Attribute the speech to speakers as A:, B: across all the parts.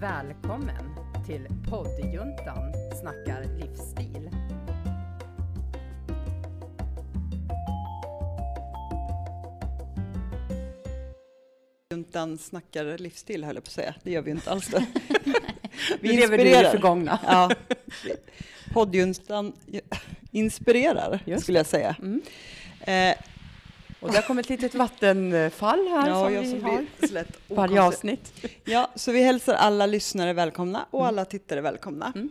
A: Välkommen till poddjuntan snackar livsstil.
B: Juntan snackar livsstil höll jag på att säga. Det gör vi ju inte alls. Det.
A: Vi lever i det förgångna.
B: Ja. Poddjuntan inspirerar
A: Just
B: skulle jag säga.
A: Mm.
B: Eh,
A: Och det har kommit ett litet vattenfall här
B: ja,
A: som
B: jag
A: vi
B: som
A: har
B: blir slätt
A: varje
B: okoncentrerad.
A: avsnitt.
B: Ja, så vi hälsar alla lyssnare välkomna
A: Mm.
B: och alla tittare välkomna.
C: Hallå.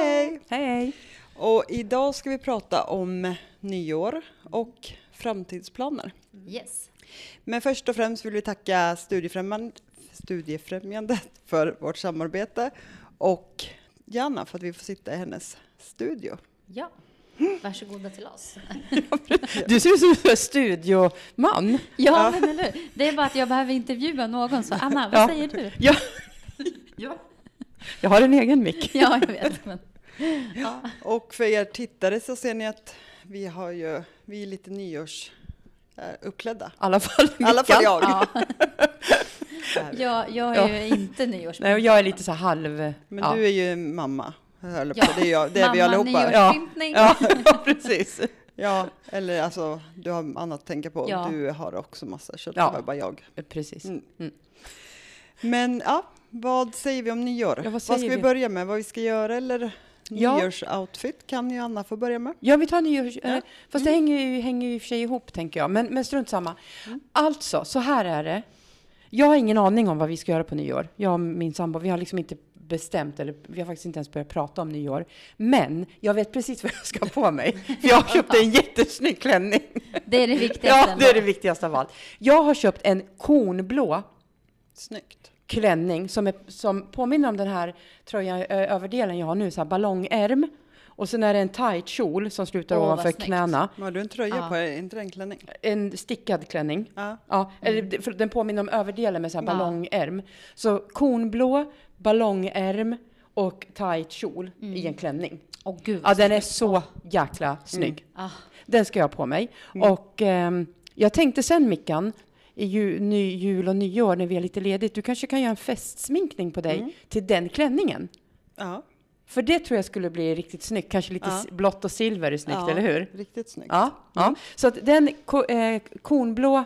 B: Hej!
A: Hej, hej.
B: Och idag ska vi prata om nyår och framtidsplaner.
C: Yes.
B: Men först och främst vill vi tacka Studiefrämjand- Studiefrämjandet för vårt samarbete och Jana för att vi får sitta i hennes studio.
C: Ja. Varsågoda till oss.
A: Du ser ut som en studioman.
C: Ja, men eller hur? Det är bara att jag behöver intervjua någon, så Anna, vad
A: Ja.
C: säger du?
A: Ja,
C: Ja.
A: jag har en egen mick.
C: ja, jag vet. Men, ja.
B: Och för er tittare så ser ni att vi har ju, vi är lite nyårs eh, uppklädda.
A: I alla fall
B: I alla fall
A: mickan.
B: jag.
C: Ja. Jag, jag är ju
A: Nej,
C: inte
A: och
C: nyårspyntning.
A: jag är lite så här halv...
B: Men
A: ja.
B: du är ju mamma. höll jag
C: Ja.
B: på. Det är, jag, det är vi
C: Mamma
B: allihopa.
A: nyår.
C: nyårspyntning.
A: Ja, ja, precis.
B: Ja, eller alltså, du har annat att tänka på.
C: Ja.
B: Du har också massa, så
A: Ja.
B: det var bara jag.
A: Precis.
B: Mm.
A: Mm.
B: Men ja, vad säger vi om nyår?
A: Ja, vad
B: vad ska
A: säger
B: vi
A: vi?
B: börja med? Vad vi ska göra eller
A: Ja.
B: nyårsoutfit kan ju Anna få börja med.
A: Ja, vi tar nyårs...
B: Ja.
A: eh, Fast det
C: Mm.
A: hänger ju, hänger ju i och för sig ihop, tänker jag. Men, men strunt samma. Alltså, så här är det. Jag har ingen aning om vad vi ska göra på nyår. Jag och min sambo, vi har liksom inte bestämt, eller vi har faktiskt inte ens börjat prata om nyår. Men jag vet precis vad jag ska ha på mig. För jag har köpt en jättesnygg klänning.
C: Det är det viktigaste.
A: Ja, det är det
C: ändå.
A: viktigaste av allt. Jag har köpt en kornblå
B: Snyggt.
A: klänning som, är, som påminner om den här tröjan, ö, överdelen jag har nu, så här ballongärm. Och sen är det en tight kjol som slutar
C: Åh, vad
A: ovanför
C: snyggt.
A: knäna.
B: Men Har du en tröja
C: Ja.
B: på dig? Inte det en klänning?
A: En stickad klänning.
B: Ja.
A: Ja, eller det- för den påminner om överdelen med så här
C: Ja.
A: ballongärm. Så kornblå, ballongärm och tight kjol i en klänning.
C: Åh, gud.
A: Mm. Ja, den är så jäkla snygg.
C: Ah,
A: Den ska jag ha på mig. Och ehm, jag tänkte sen Mickan, i ju, ny, jul och nyår när vi är lite ledigt, du kanske kan göra en festsminkning på dig till den klänningen.
B: Ja.
A: För det tror jag skulle bli riktigt snyggt. Kanske lite
B: Ja.
A: s- blått och silver är snyggt,
B: ja.
A: eller hur?
B: Riktigt snyggt.
A: Ja, ja. Mm. Så att den ko, eh, kornblå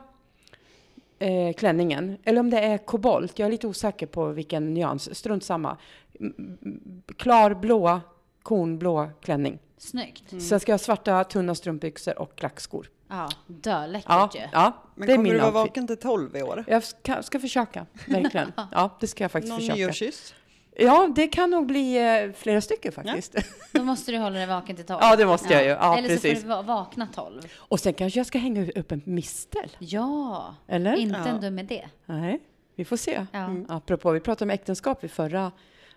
A: eh, klänningen, eller om det är kobolt, jag är lite osäker på vilken nyans, strunt samma. M- m- Klarblå, kornblå klänning.
C: snyggt.
B: Mm.
A: Sen ska jag ha svarta tunna strumpbyxor och klackskor.
C: Ja, dörläckert
A: Ja,
C: ju.
A: ja
B: Men
A: det är
B: kommer
A: min
B: du vara
A: outfit.
B: vaken till tolv i år?
A: Jag ska, ska försöka, verkligen. Ja, det ska jag faktiskt
B: Någon
A: försöka.
B: nyårskyss?
A: Ja, det kan nog bli eh, flera stycken faktiskt.
C: Då måste du hålla dig vaken till tolv.
A: Ja, det måste jag ju. Ja,
C: Eller
A: precis.
C: så får du va- vakna tolv.
A: Och sen kanske jag ska hänga upp en mistel,
C: Ja,
A: eller?
C: inte
B: Ja.
C: en dum idé.
A: Nej, vi får se.
C: Ja.
A: Apropå, vi pratade om äktenskap i förra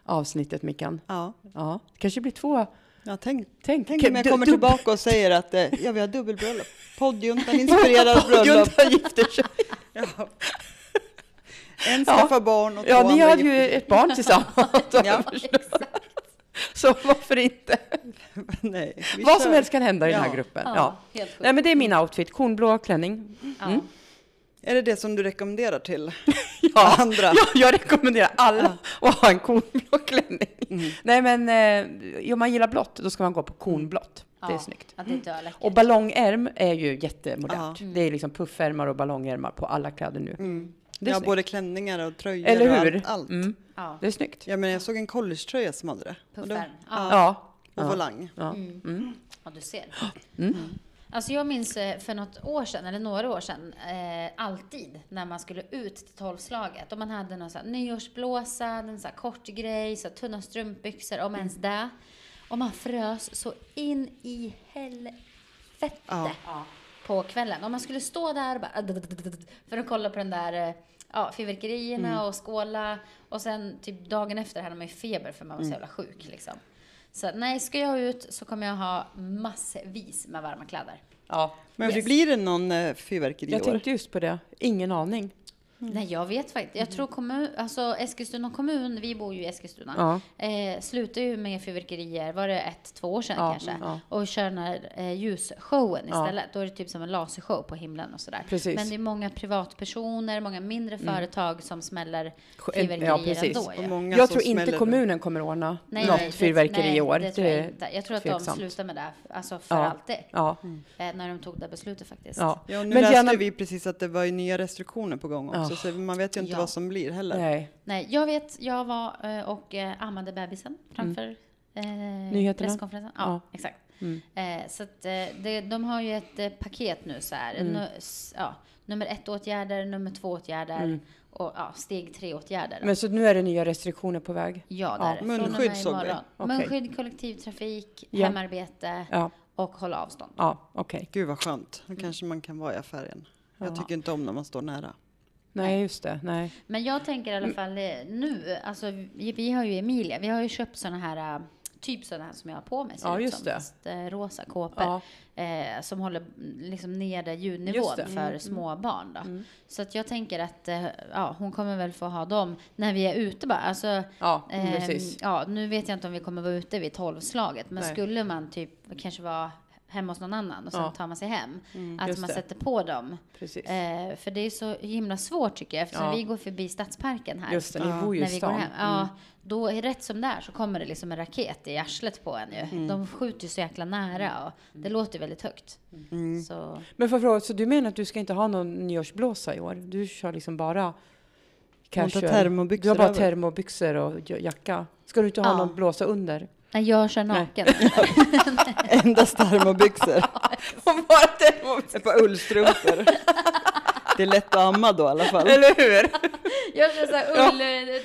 A: avsnittet, Mickan.
B: Ja.
A: Ja, det kanske blir två.
B: ja tänk,
A: Tänk,
B: tänk om jag
A: du-
B: kommer
A: du-
B: tillbaka och säger att eh, ja, vi har dubbelbröllop. Poddjuntan inspirerar bröllop.
A: Junta gifter sig.
B: Ja. En skaffar barn och
A: Ja,
B: två
A: ni
B: andra
A: hade ju
B: gifter sig.
A: ett barn tillsammans.
B: Ja.
A: Så varför inte?
B: Nej, vi
A: Vad
B: kör.
A: som helst kan hända i den
B: Ja.
A: här gruppen. Ja.
C: helt sjukt.
A: Nej, men Mm. det är min outfit. Kornblå klänning.
C: Ja.
B: Är det det som du rekommenderar till
A: Ja.
B: andra?
A: Ja, jag rekommenderar alla att ha en kornblå klänning.
B: Mm.
A: Nej, men eh, om man gillar blått, då ska man gå på kornblått. Det är
C: Ja,
A: snyggt.
C: Ja, det är dörläckert.
A: Och ballongärm är ju jättemodernt. Det är liksom puffärmar och ballongärmar på alla kläder nu. Det är
B: Mm. Ja,
A: snyggt.
B: både klänningar och tröjor
A: Eller
B: och
A: hur?
B: allt. allt.
A: Mm.
C: Ja.
A: Det är snyggt.
B: Ja, men jag såg en collegetröja som hade det. Och det-
C: Puffärm.
B: Ja.
C: Ja.
A: Ja.
B: Och
A: ja.
B: volang.
A: ja.
C: Ja, du ser. Mm. Alltså jag minns eh, för något år sedan, eller några år sedan, eh, alltid när man skulle ut till tolvslaget och man hade någon så här nyårsblåsa, en så här kort grej, så här tunna strumpbyxor, om ens det. Och man frös så in i helvete
B: Ja.
C: på kvällen. Och man skulle stå där och bara, för att kolla på den där eh, Ja, fyrverkerierna och skåla. Och sen typ dagen efter hade man ju feber för man var så jävla sjuk. Liksom. Så nej, ska jag ut så kommer jag ha massvis med varma kläder.
A: ja.
B: Men
C: Yes.
B: blir det någon eh, fyrverkeri i
A: Jag
B: år?
A: tänkte just på det. Ingen aning.
C: Nej, jag vet faktiskt. Jag tror kommun, alltså Eskilstuna kommun, vi bor ju i Eskilstuna,
A: Ja.
C: eh, slutade ju med fyrverkerier, var det ett, två år sedan
A: Ja,
C: kanske?
A: mm, ja.
C: Och kör den här eh, ljusshowen
A: Ja.
C: istället. Då är det typ som en lasershow på himlen och sådär.
A: Precis. Mm.
C: Men det är många privatpersoner, många mindre företag som smäller
A: Ja,
C: fyrverkerier
A: precis.
C: ändå.
B: Och
C: ju.
B: många
A: Jag
B: som
A: tror inte
B: smäller.
A: kommunen kommer ordna något fyrverkeri
C: nej,
A: i år.
C: Det tror jag inte. Jag tror att
A: tveksamt.
C: de slutar med det, alltså för
A: Ja.
C: alltid.
A: Ja,
C: Eh, när de tog det beslutet faktiskt.
A: ja.
B: Ja, och nu
A: Men
B: läste
A: gärna- Ah.
B: vi precis att det var ju nya restriktioner på gång också, så man vet ju inte
C: Ja.
B: vad som blir heller.
A: Nej.
C: Nej, jag vet, jag var eh, och eh, ammade bebisen framför eh,
A: Mm. Nyheterna.
C: presskonferensen. Ja,
A: Ja. Mm.
C: exakt. Eh, så att, eh, det, de har ju ett eh, paket nu så här.
A: Mm.
C: Nu, s, ja, nummer ett-åtgärder, nummer två-åtgärder och ja, steg tre-åtgärder.
A: Mm. Men så nu är det nya restriktioner på väg?
C: Ja,
A: Ja,
C: där. Från och med
B: munskydd såg vi.
C: imorgon.
A: Okej.
C: Munskydd, kollektivtrafik,
A: Ja.
C: hemarbete
A: Ja,
C: och hålla avstånd.
A: ja okej.
B: Gud vad skönt, då kanske man kan vara i affären. Jag tycker inte om när man står nära.
A: Nej, just det. Nej.
C: Men jag tänker i
A: Mm.
C: alla fall eh, nu, alltså vi, vi har ju Emilia, vi har ju köpt såna här, eh, typ såna här som jag har på mig. ser
A: Ja,
C: ut
A: just
C: som,
A: det.
C: fast, eh, Rosa kåpor.
A: Ja.
C: eh, som håller mm, liksom nere ljudnivån
A: Just det. Mm,
C: för små barn. Då. Så att jag tänker att eh, ja, hon kommer väl få ha dem när vi är ute bara. Alltså,
A: Ja,
C: ehm,
A: Mm, precis.
C: ja, nu vet jag inte om vi kommer vara ute vid tolvslaget, men
A: Nej.
C: skulle man typ kanske vara hemma hos någon annan och sen
A: Ja. Mm,
C: tar man sig hem. att
A: just
C: man
A: det.
C: sätter på dem.
A: Precis.
C: Eh, för det är så himla svårt tycker jag, eftersom
A: Ja.
C: vi går förbi Stadsparken här.
A: Just det, ni
B: Ja.
A: bor ju i
C: När vi går
A: stan. Mm.
C: hem. Ja, då är rätt som där så kommer det liksom en raket i arslet på en ju.
A: Mm.
C: De skjuter ju så jäkla nära och det låter väldigt högt.
B: Mm.
C: Så,
A: Men får jag fråga, så du menar att du ska inte ha någon nyårsblåsa i år? Du kör liksom bara
B: Man tar
A: casual?
B: termobyxor
A: Du har bara
B: över.
A: termobyxor och j- jacka? Ska du inte ha
C: Ja.
A: någon blåsa under?
C: nej, jag kör naken.
B: Endast termobyxor.
A: bara termobyxor,
B: Ett par ullstrumpor. Det är lätt att amma då i alla fall.
A: eller hur?
C: jag kör så här ull,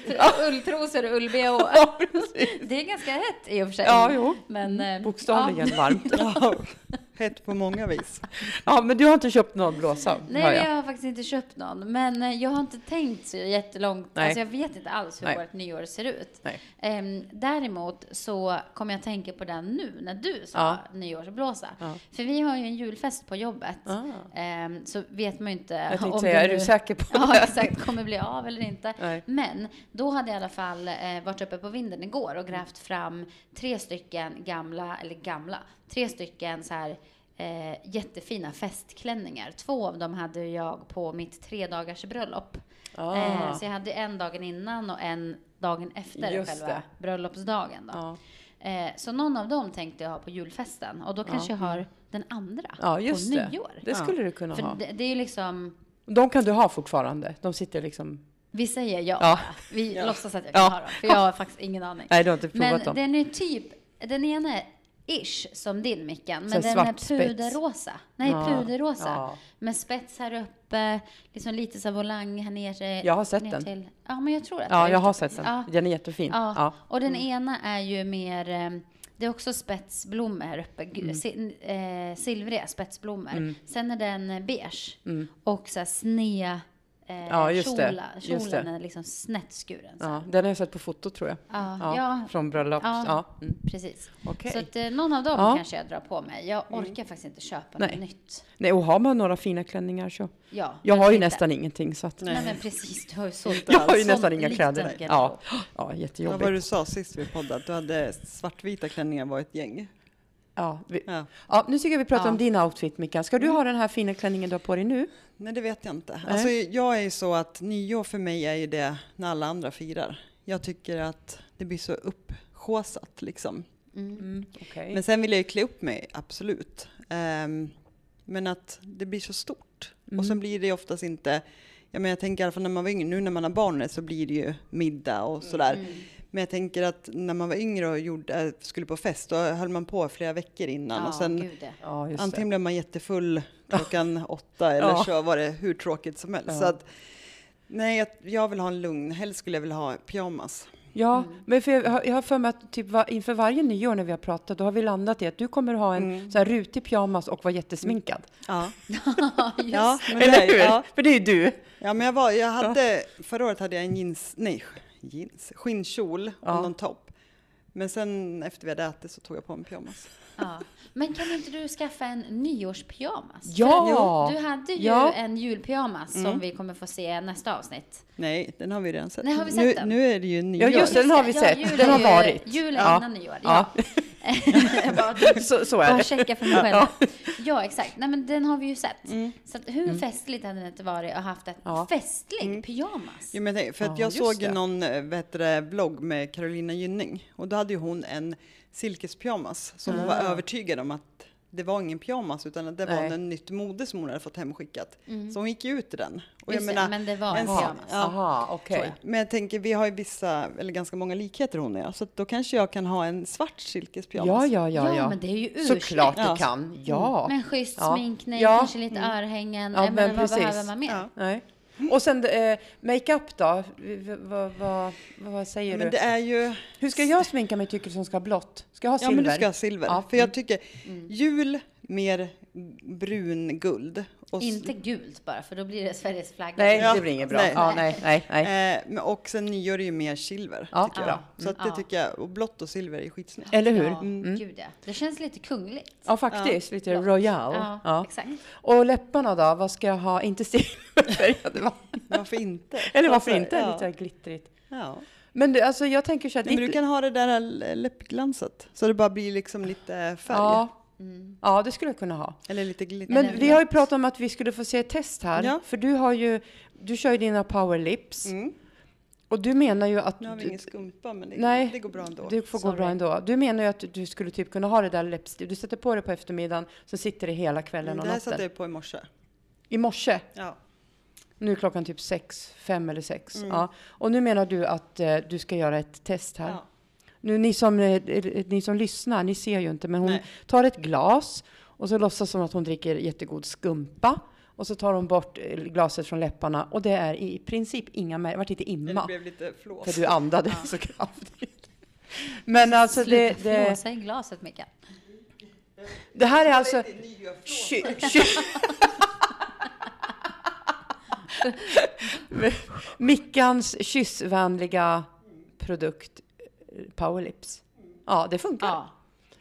C: t- ulltrosor och ull-bh. Alltså,
A: Ja, precis.
C: Det är ganska hett i och för sig.
A: Ja, jo.
C: Men, eh,
A: Bokstavligen
C: ja.
A: varmt.
B: Ja, hett på många vis.
A: Ja, men du har inte köpt någon blåsa? hör
C: Nej,
A: jag.
C: jag har faktiskt inte köpt någon. Men eh, jag har inte tänkt så jättelångt.
A: Nej.
C: Alltså, jag vet inte alls hur
A: Nej.
C: vårt nyår ser ut.
A: Nej.
C: Ehm, däremot så kom jag att tänka på den nu när du sa
A: Ja.
C: nyårsblåsa.
A: Ja.
C: För vi har ju en julfest på jobbet.
A: Ah.
C: Ehm, så vet man ju inte
A: Jag tänkte
C: om
A: säga,
C: det
A: är du
C: nu-
A: säker på
C: Ja,
A: det?
C: exakt. Kommer bli av eller inte.
A: Nej.
C: Men då hade jag i alla fall eh, varit uppe på vinden igår
A: Mm.
C: och grävt fram tre stycken gamla, eller gamla, tre stycken så här eh, jättefina festklänningar. Två av dem hade ju jag på mitt tre dagars bröllop.
A: Ah.
C: Eh, så jag hade en dagen innan och en dagen efter
A: Just
C: själva
A: det. Ah.
C: bröllopsdagen. Då.
A: Ja.
C: Eh, så någon av dem tänkte jag ha på julfesten och då kanske jag har den andra
A: Ah, mm. ja, just
C: på
A: det.
C: nyår.
A: Det skulle du kunna
C: För
A: ha.
C: det, det är ju liksom
A: De kan du ha fortfarande. De sitter liksom...
C: Vi säger ja.
A: Ja.
C: Vi låtsas att jag
A: Ja.
C: kan ha dem, för jag har faktiskt ingen aning.
A: Nej, du har inte provat
C: men
A: dem.
C: den är typ, den ena är ish som din Mickan,
A: Så här
C: men den är
A: svart spets.
C: puderrosa. Nej,
A: Ja.
C: puderrosa.
A: Ja.
C: Med spets här uppe, liksom lite så här volang här nere.
A: Jag har sett
C: ner
A: den.
C: Till. Ja, men jag tror att
A: Ja,
C: är
A: jag
C: ute
A: har
C: på-
A: sett den. Mm.
C: Ja.
A: Den är jättefin.
C: Ja.
A: Ja.
C: och den ena är ju mer, eh, det är också spetsblommor här uppe, gu-
A: Mm.
C: si, eh, silvriga spetsblommor. Sen är den eh, beige
A: Mm.
C: och så här snea eh,
A: Ja, just det.
C: kjola.
A: Just
C: Kjolen
A: det.
C: är liksom snett skuren. Så.
A: Ja, den har jag sett på foto tror jag.
C: Ja,
A: Ja,
C: ja.
A: Från bröllop. Ja.
C: Ja.
A: Mm.
C: Precis.
A: Okej.
C: Så att eh, någon av dem
A: Ja. Mm.
C: kanske jag drar på mig. Jag orkar faktiskt inte köpa
A: Nej.
C: något nytt.
A: Nej, och har man några fina klänningar så.
C: Ja,
A: Jag
C: men
A: har ju
C: titta.
A: nästan ingenting så att.
C: Nej. men precis, du har ju sålt
A: Jag har ju
C: sån
A: nästan inga
C: liten
A: kläder.
C: garderob.
A: Ja, ja
B: Ja, vad
A: jättejobbigt.
B: du sa sist vi poddade, att du hade svartvita klänningar var ett gäng.
A: Ja, vi,
B: Ja.
A: ja, nu tycker jag vi pratar
C: Ja. Mm.
A: om din outfit Mikael. Ska du ha den här fina klänningen du har på dig nu?
B: Nej, det vet jag inte. Alltså, jag är ju så att nyår för mig är ju det när alla andra firar. Jag tycker att det blir så upphaussat liksom.
A: Mm, okej.
B: Men sen vill jag ju klä upp mig, absolut. Ehm, men att det blir så stort. Och
A: Mm.
B: sen blir det ju oftast inte, ja, men jag tänker i alla fall när man var yngre, nu när man har barn så blir det ju middag och sådär.
C: Mm.
B: Men jag tänker att när man var yngre och gjorde, äh, skulle på fest, då höll man på flera veckor innan.
C: Ja,
B: och sen
C: gud, ja.
A: Ja, just
B: Antingen blev man jättefull klockan åtta eller
A: Ja.
B: så var det hur tråkigt som helst.
A: Ja.
B: Så att, nej, jag, jag vill ha en lugn. Helst skulle jag vilja ha pyjamas.
A: det. Ja,
C: Mm.
A: men för jag, har- jag har för mig att typ va, inför varje nyår när vi har pratat, då har vi landat i att du kommer ha en
C: Mm.
A: sån här rutig pyjamas och vara jättesminkad.
B: Mm. Ja,
C: just
B: ja, men det,
A: Eller
B: är-
A: hur?
B: ja.
A: För det är ju du.
B: ja men jag var, jag hade, förra året hade jag en jeans, nej, jeans, skinnkjol och
A: Ja.
B: någon topp. Men sen efter vi hade ätit så tog jag på mig pyjamas.
C: Ja. Men kan inte du skaffa en nyårspyjamas?
A: Ja!
C: För Du hade ju
A: Ja.
C: en julpyjamas som vi kommer få se nästa avsnitt.
B: Nej, den har vi redan sett.
C: Nej, har vi
B: nu,
C: sett den?
B: nu är det ju
A: Ja,
B: nyår.
A: just det, den har vi
C: Ja,
A: sett.
C: jul
A: den
C: är
A: har
C: ju-
A: varit.
C: Jul är
A: Ja.
C: innan nyår, ja. Jag bara,
A: Så, så är
C: bara
A: det.
C: checka för mig själv. Ja, exakt. Nej, men den har vi ju sett. Så att hur festligt hade det inte varit att ha haft ett
A: Mm. Ja. Mm.
C: festlig pyjamas?
B: Jo, men jag tänker- för att
A: Ja,
B: jag
A: just
B: såg ju
A: det.
B: någon eh, vad heter det, blogg med Carolina Gynning och då hade ju hon en silkespyjamas som hon var övertygad om att det var ingen pyjamas utan att det
A: Ah. Nej. Mm.
B: var en nytt mode som hon hade fått hemskickat. Så hon gick ju ut i den. Och
C: Just det, men det var en
B: sil-
C: pyjamas.
B: Ja,
A: Aha, okej.
C: Tror jag.
B: men jag tänker, vi har ju vissa, eller ganska många likheter hon och jag, så att då kanske jag kan ha en svart
A: Ja,
B: silkespyjamas.
A: ja, ja, ja.
C: men det är ju ursnyggt.
A: Såklart du
B: Ja.
A: kan. Ja. Mm.
C: Med en schysst
A: Ja.
C: sminkning,
A: Ja. Mm.
C: kanske lite örhängen.
A: Ja,
C: Ja, men
A: men
C: vad
A: precis.
C: behöver man mer?
B: Ja.
A: Nej. Och sen eh, makeup då? V- v- Vad vad- vad säger
B: Men
A: du?
B: det är ju...
A: Hur ska jag sminka mig tycker du som ska ha blått? Ska jag ha silver?
B: Ja, men du ska ha silver.
A: Ja. mm.
B: För jag tycker jul mer brunguld. Och, s-
C: Inte gult bara, för då blir det Sveriges flagga.
A: Nej,
B: Ja.
A: det blir inget bra.
B: Nej.
A: Ja, nej, nej, nej.
B: eh, men- och sen nyår är ju mer silver.
A: Ja,
B: tycker jag.
A: bra.
B: Så att det
C: Ja.
B: tycker jag, och blått och silver är skitsnyggt.
A: Eller hur? Mm.
C: Ja, gud ja. Det känns lite kungligt.
A: Ja, faktiskt. Lite
C: Blått.
A: royal.
C: Ja,
A: Ja,
C: exakt.
A: Och läpparna då? Vad ska jag ha? Inte silverfärgade va?
B: Men Varför inte?
A: Eller varför
B: Alltså,
A: inte?
B: Ja.
A: Lite glittrigt.
B: Ja.
A: Men du, alltså jag tänker så här.
B: Nej, men
A: ditt-
B: du kan ha det där l- läppglanset så det bara blir liksom lite färg.
A: ja.
C: Mm.
A: ja, det skulle jag kunna ha.
B: Eller lite glitter.
A: Men
C: Eller
A: vi har ju pratat om att vi skulle få se ett test här.
B: Ja. Mm.
A: För du har ju, du kör ju dina power lips. Och du menar ju att...
B: Nu har vi
A: du-
B: ingen skumpa men det,
A: Nej,
B: det går bra ändå.
A: Det får
C: Sorry.
A: gå bra ändå. Du menar ju att du skulle typ kunna ha det där läppstift. Du sätter på det på eftermiddagen, så sitter det hela kvällen
B: Men
A: och
B: Mm, det här
A: natten.
B: satte jag på i morse.
A: I morse,
B: Ja.
A: nu är klockan typ sex, fem eller sex.
B: Mm.
A: Ja. Och nu menar du att eh, du ska göra ett test här.
B: Ja.
A: Nu, ni, som, eh, eh, ni som lyssnar, ni ser ju inte, men hon
B: Nej.
A: tar ett glas och så låtsas som att hon dricker jättegod skumpa. Och så tar hon bort eh, glaset från läpparna och det är i princip inga märken, vart inte
B: Det
A: imma.
B: blev lite flås.
A: För du andade så kraftigt. Men alltså det,
C: Sluta
A: det,
C: flåsa i glaset, Mikael.
A: det här är alltså...
B: Det är nya flås.
A: Tju- tju- Mickans kyssvänliga produkt eh, Powerlips. Ja, det funkar.
C: Ja.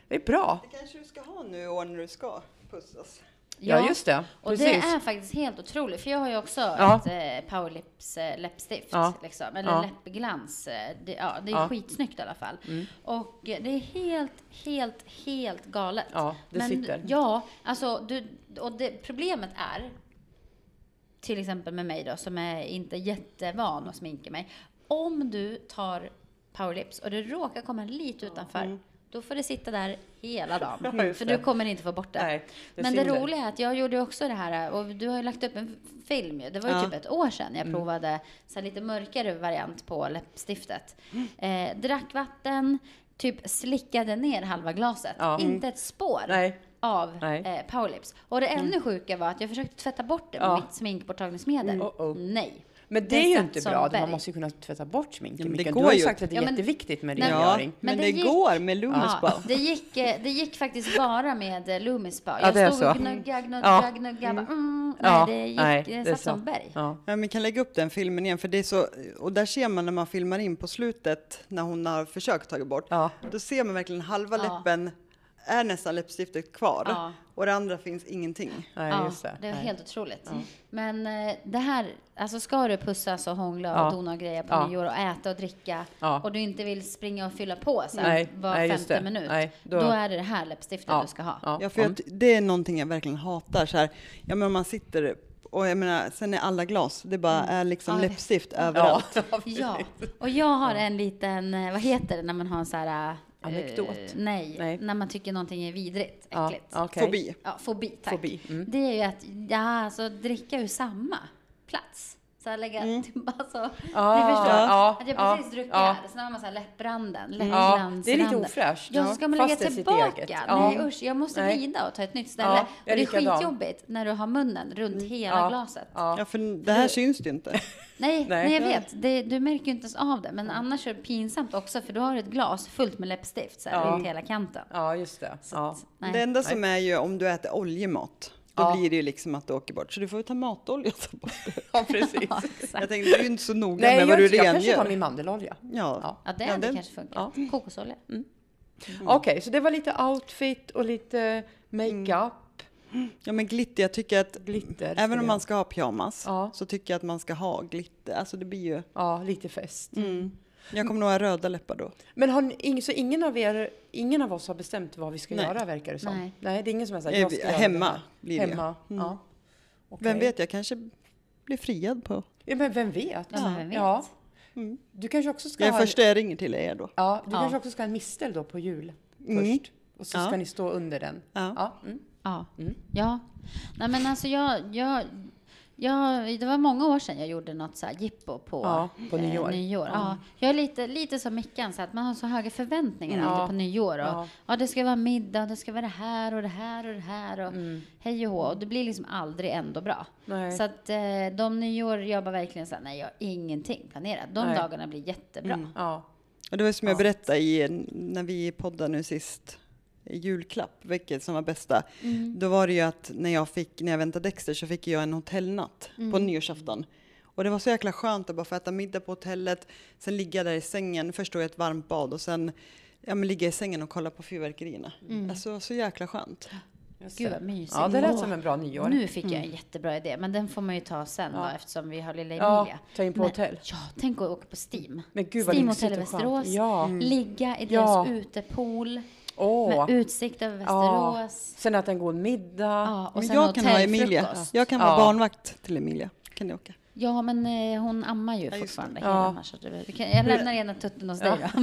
A: Det är bra.
B: Det kanske du ska ha nu i år när du ska pussas.
A: Ja, just det.
C: Och
A: Precis.
C: det är faktiskt helt otroligt, för jag har ju också
A: Ja.
C: ett eh, powerlips eh, läppstift,
A: Ja.
C: liksom, eller
A: Ja.
C: läppglans. eh, Det, ja, det är
A: Ja. Mm.
C: skitsnyggt i alla fall. Och eh, det är helt, helt, helt galet.
A: Ja, det sitter.
C: Ja, alltså, du, och det, problemet är, till exempel med mig då, som är inte jättevan att sminka mig. Om du tar powerlips och det råkar komma lite utanför, då får det sitta där hela dagen.
A: Mm. Ja, just
C: för
A: det.
C: du kommer inte få bort det.
A: Nej, det
C: Men det
A: synder.
C: roliga är att jag gjorde ju också det här, och du har ju lagt upp en f- film ju. Det var ju
B: Ja.
C: typ ett år sedan
A: Mm.
C: jag provade så här lite mörkare variant på läppstiftet.
A: Mm.
C: Eh, drack vatten, typ slickade ner halva glaset.
A: Ja. Mm.
C: Inte ett spår
A: Nej.
C: av
A: Nej. Mm.
C: Eh, powerlips. Och det ännu sjuka var att jag försökte tvätta bort det med
A: Ja.
C: mitt sminkborttagningsmedel.
A: Uh-oh.
C: Nej.
A: Men det är ju
C: satt
A: inte
C: som
A: bra.
C: berg.
A: Man måste ju kunna tvätta bort sminket.
B: Ja, men det
A: Mikael.
B: går
A: du har ju
B: ju.
A: sagt att det är
C: Ja, men-
A: jätteviktigt med
C: Nej, men-
A: rengöring.
B: men,
C: Men
B: det,
C: det gick-
B: går med Loomis
C: Ja, det, gick, eh, det gick faktiskt bara med eh, Loomis Spa.
A: Ja,
C: Jag
A: det är
C: stod och
A: så.
C: gnugga, gnugga,
A: Ja.
C: gnugga. bara, Mm.
A: Ja,
C: Nej, det gick.
A: nej,
C: det
A: det är
C: satt som
A: så.
C: berg.
A: Ja.
B: Ja, vi kan lägga upp den filmen igen, för det är så, och där ser man när man filmar in på slutet, när hon har försökt ta bort,
A: Ja.
B: då ser man verkligen halva
C: Ja.
B: läppen är nästan läppstiftet kvar
C: Ja.
B: och det andra finns ingenting.
A: Nej,
C: Ja,
A: just det.
C: det var
A: Nej.
C: helt otroligt. Men eh, det här, alltså ska du pussas och hångla och
A: Ja.
C: dona och grejer på
A: Ja.
C: nyår och äta och dricka
A: Ja.
C: och du inte vill springa och fylla på sen
A: Nej,
C: var
A: nej, just
C: femte
A: det.
C: minut,
A: Nej,
C: då...
A: då-
C: är det det här läppstiftet du ska ha.
A: Ja.
B: Ja, för jag, ty- det är någonting jag verkligen hatar. Så här, ja, men om man sitter och jag menar, sen är alla glas, det bara
A: Mm.
B: är liksom
C: Ja, jag vet.
B: läppstift överallt.
C: Ja, och jag har en liten, eh, vad heter det när man har en så här... eh,
A: Anekdot.
C: nej,
A: Nej.
C: när man tycker någonting är vidrigt,
A: Ja,
C: äckligt. Ja,
A: okej.
B: Fobi.
C: fobi, tack.
A: Fobi, mm.
C: Det är ju att, ja, alltså dricka ur samma plats. Så här lägga, alltså,
A: Ah,
C: ni förstår.
A: Mm. ja,
C: att jag
A: ja,
C: precis druckit
A: ja.
C: här, så har man så här läppranden, läppglansranden.
A: Ja, det är lite ofräscht.
C: Ja, så ska man
A: Fast
C: lägga
A: det är sitt
C: tillbaka.
A: eget.
C: Nej
A: Ja.
C: usch, jag måste
A: Nej.
C: vrida och ta ett nytt ställe.
A: Ja, jag
C: och det är
A: är likadan. Mm.
C: skitjobbigt när du har munnen runt hela
A: Ja,
C: glaset.
A: ja.
B: Ja, för det här syns ju inte.
C: Nej, nej,
A: Nej. Mm.
C: jag vet. Det, du märker ju inte ens av det. Men annars är det pinsamt också för du har ett glas fullt med läppstift så här,
A: Ja.
C: runt hela kanten.
A: ja, just det. Ja.
C: Nej.
B: Det enda som är ju om du äter oljemat. Då
A: Ja.
B: blir det ju liksom att det åker bort. Så du får ju ta matolja och ta bort det.
A: Ja, precis.
B: Jag tänkte, du är ju inte så noga
A: Nej,
B: med
A: jag,
B: vad
A: jag,
B: du
A: kanske tar
B: rengör.
A: min mandelolja.
B: Ja.
A: Ja.
C: Ja, det
B: Ja,
C: hade
B: den-
C: kanske funkat. Kokosolja.
B: Mm.
A: Okej, så det var lite outfit och lite makeup,
B: ja, men glitter. Jag tycker att
A: glitter.
B: även om
A: skulle
B: man ska ha pyjamas
A: Ja.
B: så tycker jag att man ska ha glitter. Alltså det blir ju...
A: jag- Ja, lite fest.
B: Mm. Jag
A: Mm.
B: kommer nog ha röda läppar då.
A: Men har ni, ing- så ingen av er, ingen av oss har bestämt vad vi ska
B: Nej.
A: göra verkar det som?
C: Nej.
A: det är ingen som har sagt
B: Eh,
A: jag ska göra
B: Hemma
A: det.
B: blir det ju.
A: Hemma, ja. Okej.
B: Vem vet, jag kanske blir friad på...
A: Ja, men vem vet?
C: Ja, men vem vet?
A: Ja. Du kanske också ska
B: Mm. Jag är
A: ha en-
B: första jag ringer till er då.
A: Ja, du
C: Ja.
A: kanske också ska ha en mistel då på jul
B: Mm.
A: först. Och så
B: Ja.
A: ska ni stå under den.
B: Ja.
A: Ja, mm.
C: Ja. ja. Nej men alltså jag, jag, jag, det var många år sedan jag gjorde något så här jippo på, eh,
A: Ja, på nyår. Mm.
C: nyår. Ja. Jag är lite, lite som Mickan, så att man har så höga förväntningar
A: Mm. Ja.
C: alltid på nyår. Och, ja.
A: Ja.
C: det ska vara middag, det ska vara det här och det här och det här och hej och hå. Och det blir liksom aldrig ändå bra.
A: Mm. Nej.
C: Så att eh, de nyår, jag bara verkligen så här, nej jag har ingenting planerat. De
A: Nej. Mm.
C: dagarna blir jättebra.
A: ja.
B: Och det var ju som jag berättade i, när vi poddade nu sist, i julklapp, vilket som var bästa.
C: Mm.
B: Då var det ju att när jag, fick, när jag väntade Dexter så fick jag en hotellnatt på
C: Mm.
B: nyårsafton. Och det var så jäkla skönt att bara få äta middag på hotellet, sen ligga där i sängen, först då i ett varmt bad och sen ja, men ligga i sängen och kolla på fyrverkerierna.
C: Mm.
B: Alltså så jäkla skönt.
A: Just
C: Gud
A: det.
C: vad mysigt.
A: Ja, det lät
C: Åh.
A: som en bra nyår. Mm.
C: Nu fick jag en jättebra idé, men den får man ju ta sen då, eftersom vi har lilla
A: Ja,
C: Emilia.
A: ta in på
C: men,
A: hotell.
C: Ja, tänk att åka på Steam.
A: Men gud, vad
C: Steam
A: lyxigt
C: Hotel i
A: och skönt.
C: Västerås.
A: Ja. Mm.
C: Ligga i
A: Ja.
C: deras utepool
A: Åh.
C: med utsikt över
A: Ja.
C: Västerås.
A: Sen att en god middag.
C: Ja. och
B: Men
C: sen
B: jag kan ha Emilia.
C: hotellfrukost.
B: Jag kan vara
A: Ja.
B: barnvakt till Emilia. Kan ni åka?
C: Ja, men eh, hon ammar ju
B: det.
C: fortfarande.
A: Ja.
C: hela de här, så att det- vi kan, jag lämnar gärna tutten hos dig då.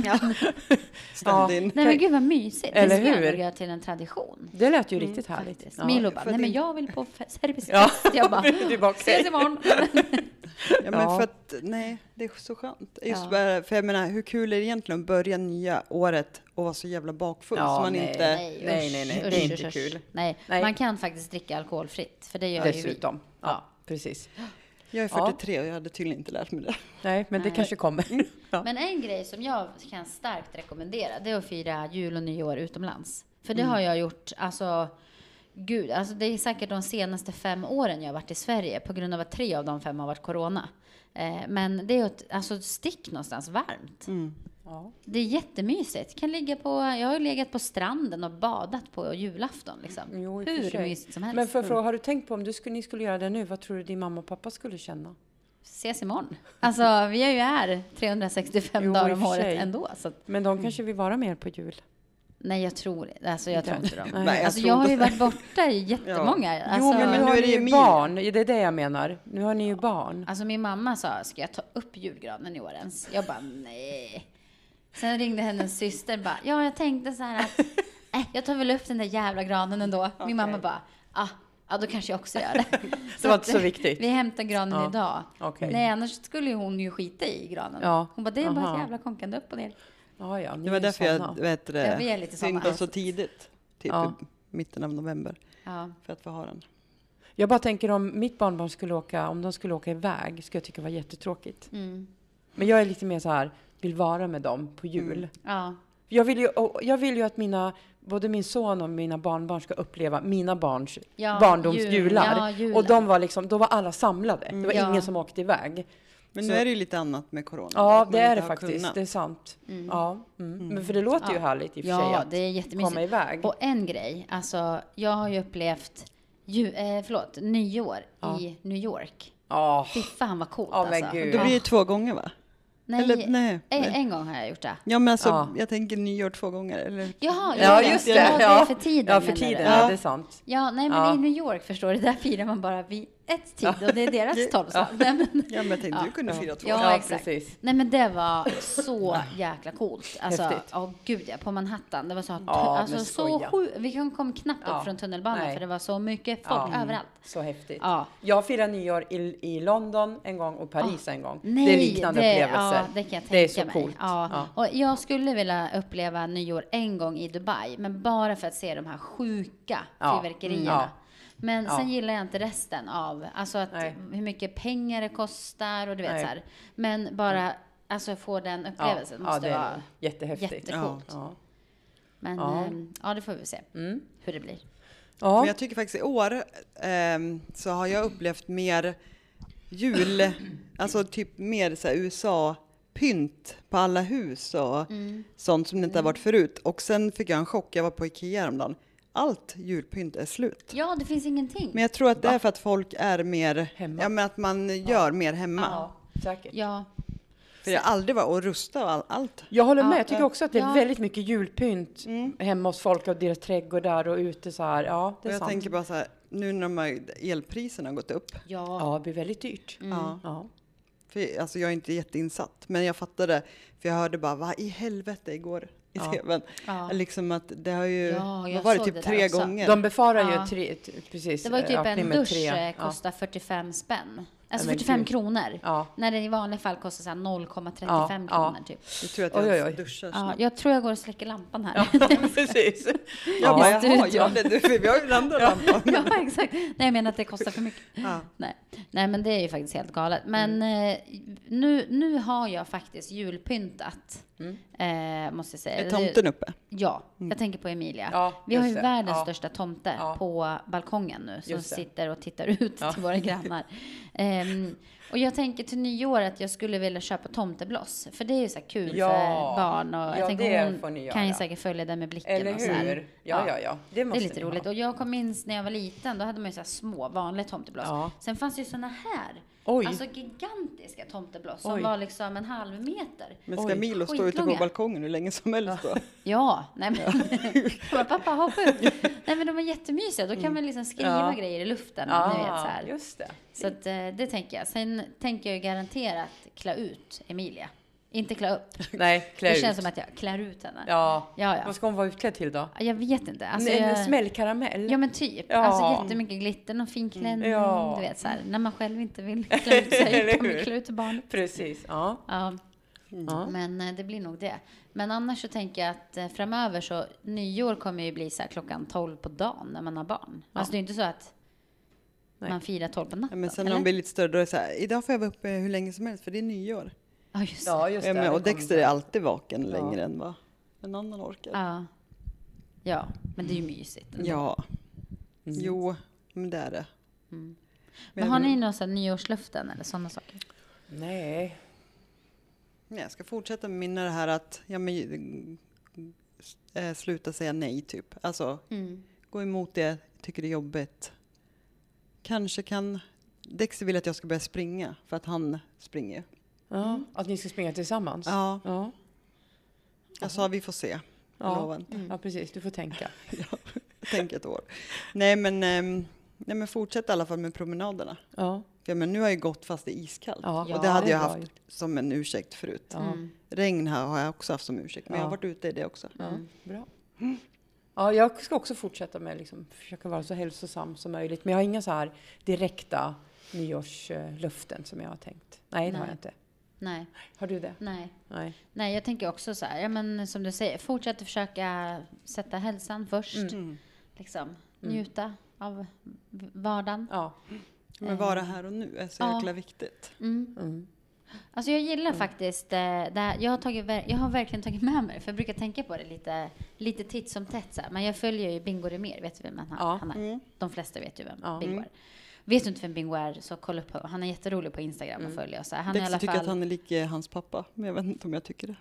B: Stand in.
C: Nej men gud vad mysigt.
A: Eller
C: det skulle
A: hur?
C: jag göra till en tradition.
A: Det lät ju riktigt härligt.
C: Mm, Faktiskt.
A: Ja.
C: Milo bara,
B: för
C: nej
B: det-
C: men jag vill på fe- serbisk
A: Ja.
C: fest. Jag bara,
A: Du bara, okej.
C: ses imorgon.
B: Ja, men
A: Ja.
B: för att nej, det är så skönt. Just
C: Ja.
B: bara, för jag menar, hur kul är det egentligen att börja nya året och vara så jävla bakfull
A: Ja,
B: så man
A: nej.
B: inte...
C: Nej,
A: Nej,
C: usch,
A: nej, nej, det
C: usch,
A: är inte
C: usch, usch.
A: kul.
C: Nej.
A: Nej.
C: man kan faktiskt dricka alkoholfritt, för det gör ju
A: Dessutom.
C: vi. Ja.
A: Ja, precis.
B: Jag är
A: Ja.
B: 43 och jag hade tydligen inte lärt mig det.
A: Nej, men
C: Nej. Mm.
A: det kanske kommer. Ja.
C: Men en grej som jag kan starkt rekommendera, det är att fira jul och nyår utomlands. För
A: Mm.
C: det har jag gjort, alltså, gud, alltså det är säkert de senaste fem åren jag har varit i Sverige, på grund av att tre av de fem har varit corona. Eh, Men det är ett, alltså stick någonstans varmt.
A: Mm. Ja.
C: Det är jättemysigt. Kan ligga på, jag har ju legat på stranden och badat på julafton liksom.
A: Jo, i och för
C: Hur
A: sig.
C: mysigt som helst.
A: Men för, för, har du tänkt på om du skulle, ni skulle göra det nu, vad tror du din mamma och pappa skulle känna?
C: Ses imorgon. Alltså vi är ju här 365
A: Jo,
C: dagar
A: i och
C: om
A: för
C: året
A: sig.
C: ändå. Så att,
A: Men de kanske vill vara mer på jul.
C: nej jag tror, alltså jag tror inte dem.
A: Nej,
B: jag
C: alltså
B: tror
C: jag har
B: inte
C: ju varit borta i jättemånga. Alltså,
A: jo, men nu
B: nu
A: har
B: är
A: ni
B: det
A: ju
B: Emilia.
A: barn. Det är det jag menar. Nu har ni ju barn.
C: alltså min mamma sa, ska jag ta upp julgranen i år ens? Jag bara, nej. Sen ringde hennes syster bara, ja jag tänkte så här att, nej jag tar väl upp den där jävla granen ändå. Min mamma bara, ah, ja då kanske jag också gör det.
A: Det var
C: att
A: inte så viktigt.
C: Vi hämtar granen
A: Ja,
C: idag.
A: okej.
C: Nej, annars skulle ju hon ju skita i granen.
A: Ja,
C: Hon bara, det är bara ett
A: aha.
C: jävla konkande upp och ner.
A: Ja, ja, ni
B: Det var
A: är ju
B: därför
A: såna.
B: jag vet, du
C: Ja,
B: det,
C: vi är lite samma.
B: syndade så tidigt. Typ
A: Ja.
B: i mitten av november.
C: Ja.
B: För att få ha den.
A: Jag bara tänker om mitt barnbarn skulle åka, om de skulle åka iväg, skulle jag tycka det var jättetråkigt.
C: Mm.
A: Men jag är lite mer så här, vill vara med dem
B: Mm.
A: på jul.
C: Ja.
A: Jag vill, ju, och jag vill ju att mina, både min son och mina barnbarn ska uppleva mina barns
C: Ja, jul- ja,
A: barndomsjular.
C: julen.
A: och de var liksom, då var alla samlade. Det
B: Mm,
A: var
C: Ja.
A: ingen som åkte iväg.
B: Men
A: Så-
B: nu är det ju lite annat med corona.
A: Ja,
B: att man
A: det är
B: inte
A: det
B: har
A: faktiskt.
B: kunnat.
A: Det är sant. Ja, mm. Men för det låter ju härligt i och för sig
C: Ja,
A: att
C: det är jättemysigt.
A: komma iväg.
C: Och en grej, alltså jag har ju upplevt ju, eh, förlåt, nyår i New York.
A: Ja,
C: Fy fan vad coolt
A: Ja, men
C: alltså.
A: gud.
B: Då blir det ju två gånger va?
C: Nej, eh,
B: Eller, nej,
C: en,
B: nej.
C: en gång har jag gjort det.
B: Ja men alltså,
A: Eh, Ja.
B: jag tänker nyår två gånger. Eller?
C: Jaha,
A: ja
C: vet.
A: just det.
C: Ja, det är
A: Ja.
C: för tiden.
A: Ja, för
C: menar du?
A: tiden.
B: Ja.
A: Ja, det är sant.
C: Ja, nej men
A: Ja.
C: i New York förstår du, där firar man bara vid ett tid och det är deras tolvslag. Nej, men,
B: Ja men jag tänkte du kunde fira två.
C: Ja,
A: Ja,
C: exakt.
A: precis.
C: Nej men det var så jäkla coolt. Alltså,
A: Häftigt.
C: åh gud ja, på Manhattan. Det var så,
A: Ja,
C: alltså,
A: men
C: så
A: skoja.
C: sju, vi kom- kom knappt upp
A: Ja.
C: från tunnelbanan
A: Nej.
C: för det var så mycket folk
A: Ja. Mm.
C: överallt.
A: Så häftigt.
C: Ja.
A: Jag firade nyår i, i London en gång och Paris en gång.
C: Ah. Nej,
A: det är liknande
C: det-
A: upplevelser.
C: Ja, det kan jag tänka
A: det är så
C: mig.
A: coolt.
C: Ja.
A: Ja.
C: Och jag skulle vilja uppleva nyår en gång i Dubai, men bara för att se de här sjuka
A: Ja.
C: fyrverkerierna.
A: Mm, ja.
C: Men
A: Ja.
C: sen gillar jag inte resten av, alltså att
A: Nej.
C: hur mycket pengar det kostar och du vet
A: Nej. Mm.
C: så här. Men bara, alltså få den upplevelsen
A: ja,
C: måste
A: det är
C: vara.
A: jättehäftigt.
C: jättecoolt.
A: Ja.
C: Men
A: Ja. Mm.
C: ehm, ja, det får vi se hur det blir.
A: Ja.
B: Men jag tycker faktiskt i år ehm, så har jag upplevt mer jul, alltså typ mer så här USA-pynt på alla hus och
A: Mm.
B: sånt som det inte har varit förut. Och sen fick jag en chock, jag var på Ikea häromdagen. Allt julpynt är slut.
C: Ja, det finns ingenting.
B: Men jag tror att det är för att folk är mer,
A: Hemma.
B: ja men att man gör mer hemma.
A: Ja, säkert.
C: Ja,
B: För jag har aldrig varit och rusta och all, allt.
A: Jag håller med.
C: Ja,
A: Jag tycker
B: ja.
A: också att det är
C: Ja.
A: väldigt mycket julpynt hemma hos folk och deras trädgårdar och ute så här. Ja, det
B: Och
A: är
B: jag
A: sant.
B: tänker bara så här, nu när de här elpriserna har gått upp.
C: ja.
A: Ja, det blir väldigt dyrt.
C: Mm.
B: Ja.
A: Ja.
B: För, alltså jag är inte jätteinsatt, men jag fattade. För jag hörde bara, vad i helvete igår i
A: Ja.
B: tvn.
C: Ja.
B: Liksom att det har ju,
C: Ja, jag
B: vad var det,
C: såg
B: typ
C: det där
B: tre
C: också.
B: gånger.
A: De befarar
C: Ja.
A: ju tre, t- precis
C: Det var ju typ
A: ökning
C: en
A: med
C: dusch
A: tre.
C: eh,
A: Ja.
C: kostar 45 spänn. Alltså
A: men
C: 45
A: gud.
C: kronor.
A: Ja.
C: När den i vanliga fall kostar så här 0,35
A: Ja,
C: kronor
A: ja.
C: typ.
B: Det tror jag att
A: Oj,
B: jag
A: oj, oj.
B: duschar
C: Ja,
B: snart.
C: jag tror jag går och släcker lampan här.
A: Ja, precis.
B: Jag bara,
A: Ja.
C: Visst.
B: jaha, ja, det, du, för vi har ju den andra lampan.
C: ja, exakt. Nej, jag menar att det kostar för mycket.
B: Ja.
C: Nej. Nej, men det är ju faktiskt helt galet. Men
A: Mm.
C: eh, nu, nu har jag faktiskt julpyntat.
A: Mm.
C: Eh, måste jag säga.
B: Är
C: Det-
B: tomten uppe?
C: Ja, jag tänker på Emilia.
A: Ja,
C: vi har ju
A: just det.
C: världens
A: Ja.
C: största tomte
A: Ja.
C: på balkongen nu som
A: Just det.
C: sitter och tittar ut till våra grannar. Ehm, och jag tänker till nyår att jag skulle vilja köpa tomteblås, för det är ju så här kul
A: Ja.
C: för barn och
A: Ja,
C: jag tänker
A: det
C: hon
A: får ni göra.
C: kan ju säkert följa det med blicken
A: Eller
C: och så här.
A: hur? Ja, ja, ja. Det
C: Det är
A: måste
C: lite
A: ni ha.
C: roligt. Och jag kom minns när jag var liten, då hade man ju så här små vanliga tomteblås.
A: Ja.
C: Sen fanns det ju såna här,
A: Oj.
C: alltså gigantiska tomteblås som
A: Oj.
C: var liksom en halv meter.
B: Men ska
A: Oj.
B: Milo stå ute på
C: Skitlånga.
B: balkongen hur länge som helst då?
C: Ja, nej men. Bara, pappa hoppa upp. Nej men de är jättemysiga. Då kan man liksom skriva
A: Mm. Ja.
C: grejer i luften.
A: Ja,
C: ni vet, så här.
A: just det.
C: så att, eh, det tänker jag. Sen tänker jag ju garanterat klä ut Emilia. Inte klä upp.
A: Nej, klä
C: det
A: ut.
C: känns som att jag klär ut henne.
A: Ja.
C: Ja, ja.
A: Vad ska hon vara utklädd till då?
C: Jag vet inte. Alltså,
A: en
C: jag...
A: smällkaramell?
C: Ja men typ.
A: Ja. Mm,
C: Alltså jättemycket glitter, någon fin klänning.
A: Ja.
C: Du vet så här, när man själv inte vill klä ut sig
A: Eller
C: kan man
A: hur?
C: klä ut barnet.
A: Precis, ja.
C: Ja.
A: Ja.
C: Men eh, det blir nog det. Men annars så tänker jag att eh, framöver så nyår kommer ju bli så här klockan 12 på dagen när man har barn. Alltså det är ju inte så att
A: Nej.
C: man firar 12 på
B: Ja,
C: natten.
B: men sen när
C: eller?
B: de blir lite större då är det så här, idag får jag vara uppe hur länge som helst för det är nyår.
C: Ja, just det.
A: Ja, just
B: Ja,
A: det.
B: men,
A: det
B: och
A: kommer
B: Dexter
A: sen.
B: är alltid vaken
A: Ja.
B: längre än vad en annan orkar.
C: Ja. ja, men det är ju
A: Mm.
C: mysigt. ändå.
B: Ja, jo, men det är det.
C: Mm. Men har ni några så här nyårslöften eller sådana saker?
A: Nej.
B: Nej, jag ska fortsätta minna det här att ja, men, eh, sluta säga nej typ. Alltså
A: Mm.
B: gå emot det, tycker det är jobbigt. Kanske kan Dexter vill att jag ska börja springa för att han springer.
A: Ja. Mm. Att ni ska springa tillsammans?
B: Ja,
A: Ja.
B: jag sa vi får se.
A: Ja.
B: Jag lovar inte.
A: ja, precis. Du får tänka.
B: Tänk ett år. Nej men, ehm, nej men fortsätt i alla fall med promenaderna.
A: Ja.
B: För, men nu har jag ju gått fast det är iskallt.
A: Ja.
B: och det hade
A: det
B: jag
A: var
B: haft som en ursäkt förut.
A: Ja.
C: Mm.
B: Regn här har jag också haft som ursäkt, men jag har
A: Ja.
B: varit ute i det också.
A: Ja,
C: Mm.
A: bra. Ja, jag ska också fortsätta med liksom, försöka vara så hälsosam som möjligt. Men jag har inga så här direkta nyårslöften som jag har tänkt. Nej, det har
C: Nej.
A: jag inte.
C: Nej,
A: Har du det?
C: nej.
A: Nej.
C: Nej, jag tänker också så här, ja, men som du säger, fortsätt att försöka sätta hälsan först.
B: Mm.
A: Mm.
C: Liksom, njuta av v- vardagen.
A: Ja.
B: Men vara här och nu är så
C: Ja.
B: jäkla viktigt.
C: Mm. Alltså jag gillar faktiskt eh, det här. Jag har, tagit, ver- jag har verkligen tagit med mig det, för jag brukar tänka på det lite, lite titt som tätt. Så här. Men jag följer ju Bingo mer. vet du vem han,
A: Ja.
B: Mm.
C: han är? De flesta vet ju vem
A: Ja.
C: Bingo är. Vet du inte vem Bingo är så kolla upp honom. Han är jätterolig på Instagram att följa. och Så här. Han är i
B: Dexter
C: alla
B: tycker att
C: fall...
B: han är lik eh, hans pappa, men jag vet inte om jag tycker det.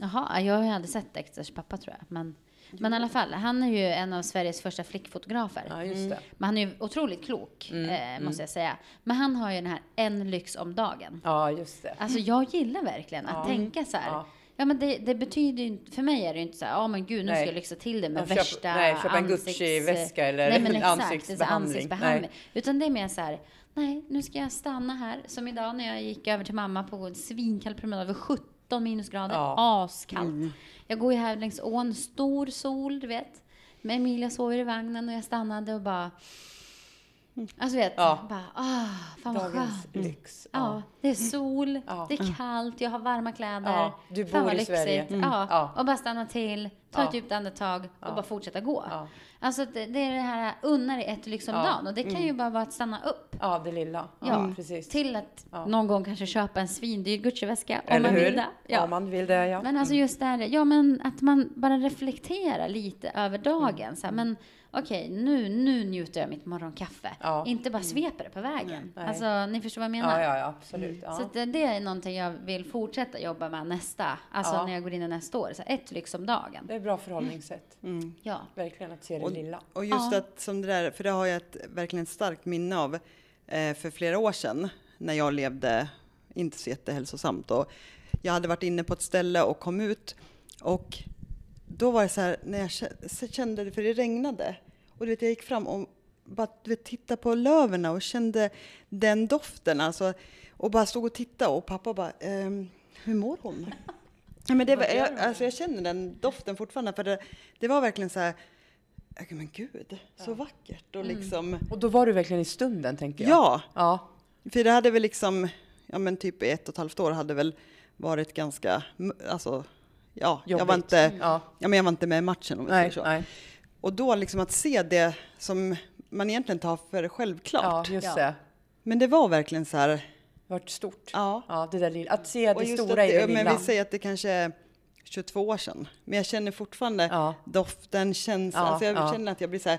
C: Jaha, jag har ju aldrig sett Dexters pappa tror jag. Men, men i alla fall, han är ju en av Sveriges första flickfotografer.
A: ja, just det.
C: Men han är ju otroligt klok, eh, måste jag säga. Men han har ju den här en lyx om dagen.
A: Ja, just det.
C: Alltså jag gillar verkligen att tänka så här. Ja.
A: Ja.
C: men det, det betyder ju inte, för mig är det ju inte så här, ja men gud nu
A: Nej.
C: ska jag lyxa till det med
A: Ja, köp-
C: värsta
A: nej, köp en
C: ansikts-
A: Gucci-väska eller
C: nej, men exakt, det är så
A: ansiktsbehandling.
C: ansiktsbehandling. Utan det är mer så här, nej nu ska jag stanna här. Som idag när jag gick över till mamma på en svinkall promenad, över 17 minusgrader,
A: Ja. Mm.
C: askallt. Jag går ju här längs ån, stor sol, du vet. Men Emilia sov ju i vagnen och jag stannade och bara, alltså du vet,
A: Ja.
C: bara, ah, fan vad
A: Dagens
C: skönt. Mm.
A: lyx.
C: Ja, det är sol,
A: Ja.
C: det är kallt, jag har varma kläder.
A: Ja, du
C: Fan
A: bor
C: vad
A: i Sverige. Mm.
C: lyxigt. Ja,
A: Ja.
C: och bara stanna till, ta ett
A: Ja.
C: djupt andetag och
A: Ja.
C: bara fortsätta gå.
A: Ja.
C: Alltså det, det är det här unna dig ett liksom
A: Ja.
C: dagen och det kan ju bara vara att stanna upp.
A: Ja, det lilla. Ja,
C: Ja.
A: precis.
C: Till att
A: Ja.
C: någon gång kanske köpa en svindyr Gucci-väska om
A: Eller
C: man
A: hur?
C: vill det. Ja.
A: Om man vill det, ja.
C: Men alltså just där, ja men att man bara reflekterar lite över dagen. Så här,
A: Mm.
C: men okej, nu, nu njuter jag mitt morgonkaffe.
A: Ja. Mm.
C: Inte bara sveper det på vägen.
A: Nej.
C: Alltså ni förstår vad jag menar? Mm.
A: ja, ja, ja, absolut. Ja.
C: Så att det, det är någonting jag vill fortsätta jobba med nästa, alltså
A: Ja.
C: när jag går in i nästa år. Så här, ett lyx om dagen.
A: Det är ett bra förhållningssätt.
C: Ja.
A: Verkligen att se det
B: Och,
A: lilla.
B: och just
C: Ja.
B: att som det där, för det har jag ett verkligen ett starkt minne av eh, för flera år sedan när jag levde inte så jättehälsosamt. Och jag hade varit inne på ett ställe och kom ut och då var det så här när jag kä- så kände det, för det regnade och du vet, jag gick fram och bara du vet, tittade på löven och kände den doften alltså, och bara stod och tittade och pappa bara, ehm, hur mår hon? Ja, men det var, jag, alltså jag känner den doften fortfarande för det, det var verkligen så här, "Ja, men gud, så vackert och liksom,
A: Och då var du verkligen i stunden, tänker jag.
B: ja,
A: Ja.
B: för det hade väl liksom, ja men typ i ett och ett halvt år hade väl varit ganska, m- alltså, ja, jag var,
A: Jobbigt.
C: Mm.
B: inte,
A: Ja.
B: ja, men jag var inte med i matchen om vi säger
A: Nej,
B: så.
A: nej.
B: Och då liksom att se det som man egentligen tar för
A: Ja,
B: självklart.
A: just
C: Ja.
A: det.
B: Men det var verkligen så här,
A: Vart stort.
B: ja.
A: Ja, det där lilla. Att se det
B: just
A: stora
B: att
A: i det
B: men
A: lilla.
B: vi säger att det kanske är 22 år sedan. Men jag känner fortfarande
A: Ja.
B: doften, känslan.
A: Ja,
B: alltså jag
A: ja. Mm.
B: känner att jag blir så här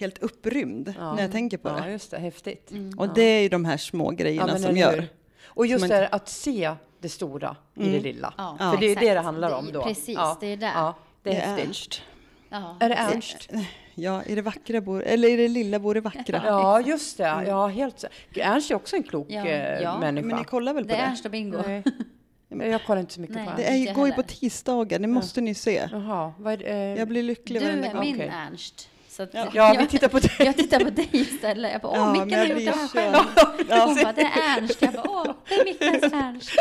B: helt upprymd när jag tänker på
A: Ja,
B: det.
A: just det. Häftigt.
B: Och det är ju de här små
A: Ja,
B: grejerna
A: men
B: som
A: eller
B: gör.
A: hur? Och just
B: man
A: det här att se det stora i det lilla.
C: Ja,
A: För det är ju
C: exakt.
A: det det handlar om
C: Det-
A: då.
C: precis,
A: ja.
C: det är där.
A: Ja, det är, häftigt.
B: Ernst.
C: Ja.
A: Är det Ernst?
B: Ja, i det vackra bor, eller i det lilla bor det vackra.
A: Ja, just det. Ja, helt så. Ernst är också en klok
C: Ja.
A: eh,
C: Ja.
B: Men ni
A: människa.
B: kollar väl på
C: Det
B: det?
C: är Ernst och Bingo.
A: Nej. Jag kollar inte så mycket
C: Nej.
A: på
B: Det
A: Ernst.
B: är ju,
C: Inte
B: går ju på
C: heller.
B: tisdagar, det måste ni se.
A: Jaha, vad är det? eh,
B: Jag blir lycklig
C: Du
B: varenda
C: är
B: gång.
C: min
A: Okej.
C: Ernst. Så att,
B: Ja.
A: Ja, vi tittar på dig.
C: Jag tittar på dig istället. Jag bara, åh,
B: Ja, men
C: Mickan
B: jag
C: har gjort
B: blir
C: det här själv.
B: körd. Ja.
C: Hon bara, det är Ernst. Jag bara, åh, det är Mickans Ernst.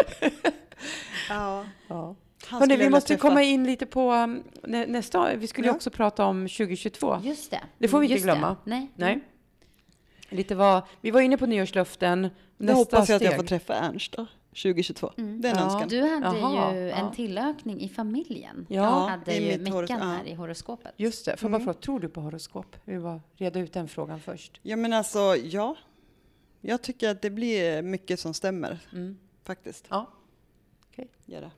B: Ja.
A: Ja.
B: Han
A: Hörrni,
B: skulle
A: vi
B: vilja
A: måste
B: träffa.
A: komma in lite på um, nä, nästa. Vi skulle ju
B: Ja.
A: också prata om 2022.
C: Just det.
A: Det får vi inte
C: Just
A: glömma.
C: Nej.
A: Nej.
B: Mm.
A: Lite vad, vi var inne på nyårslöften.
B: Då
A: Nästa
B: hoppas jag att
A: steg.
B: jag får träffa Ernst då, 2022. Det är en
A: Ja.
B: önskan.
C: Du hade
A: Jaha,
C: ju
A: ja.
C: en tillökning i familjen.
A: Ja,
C: hade
B: i
C: ju
B: mitt horo-
C: Mickan
B: ja.
C: här i horoskopet.
A: Just det. Får
B: Mm.
A: jag bara fråga, tror du på horoskop? Vi bara reda ut den frågan först.
B: Ja men alltså, ja. Jag tycker att det blir mycket som stämmer. Faktiskt.
A: Ja.
B: Gör det.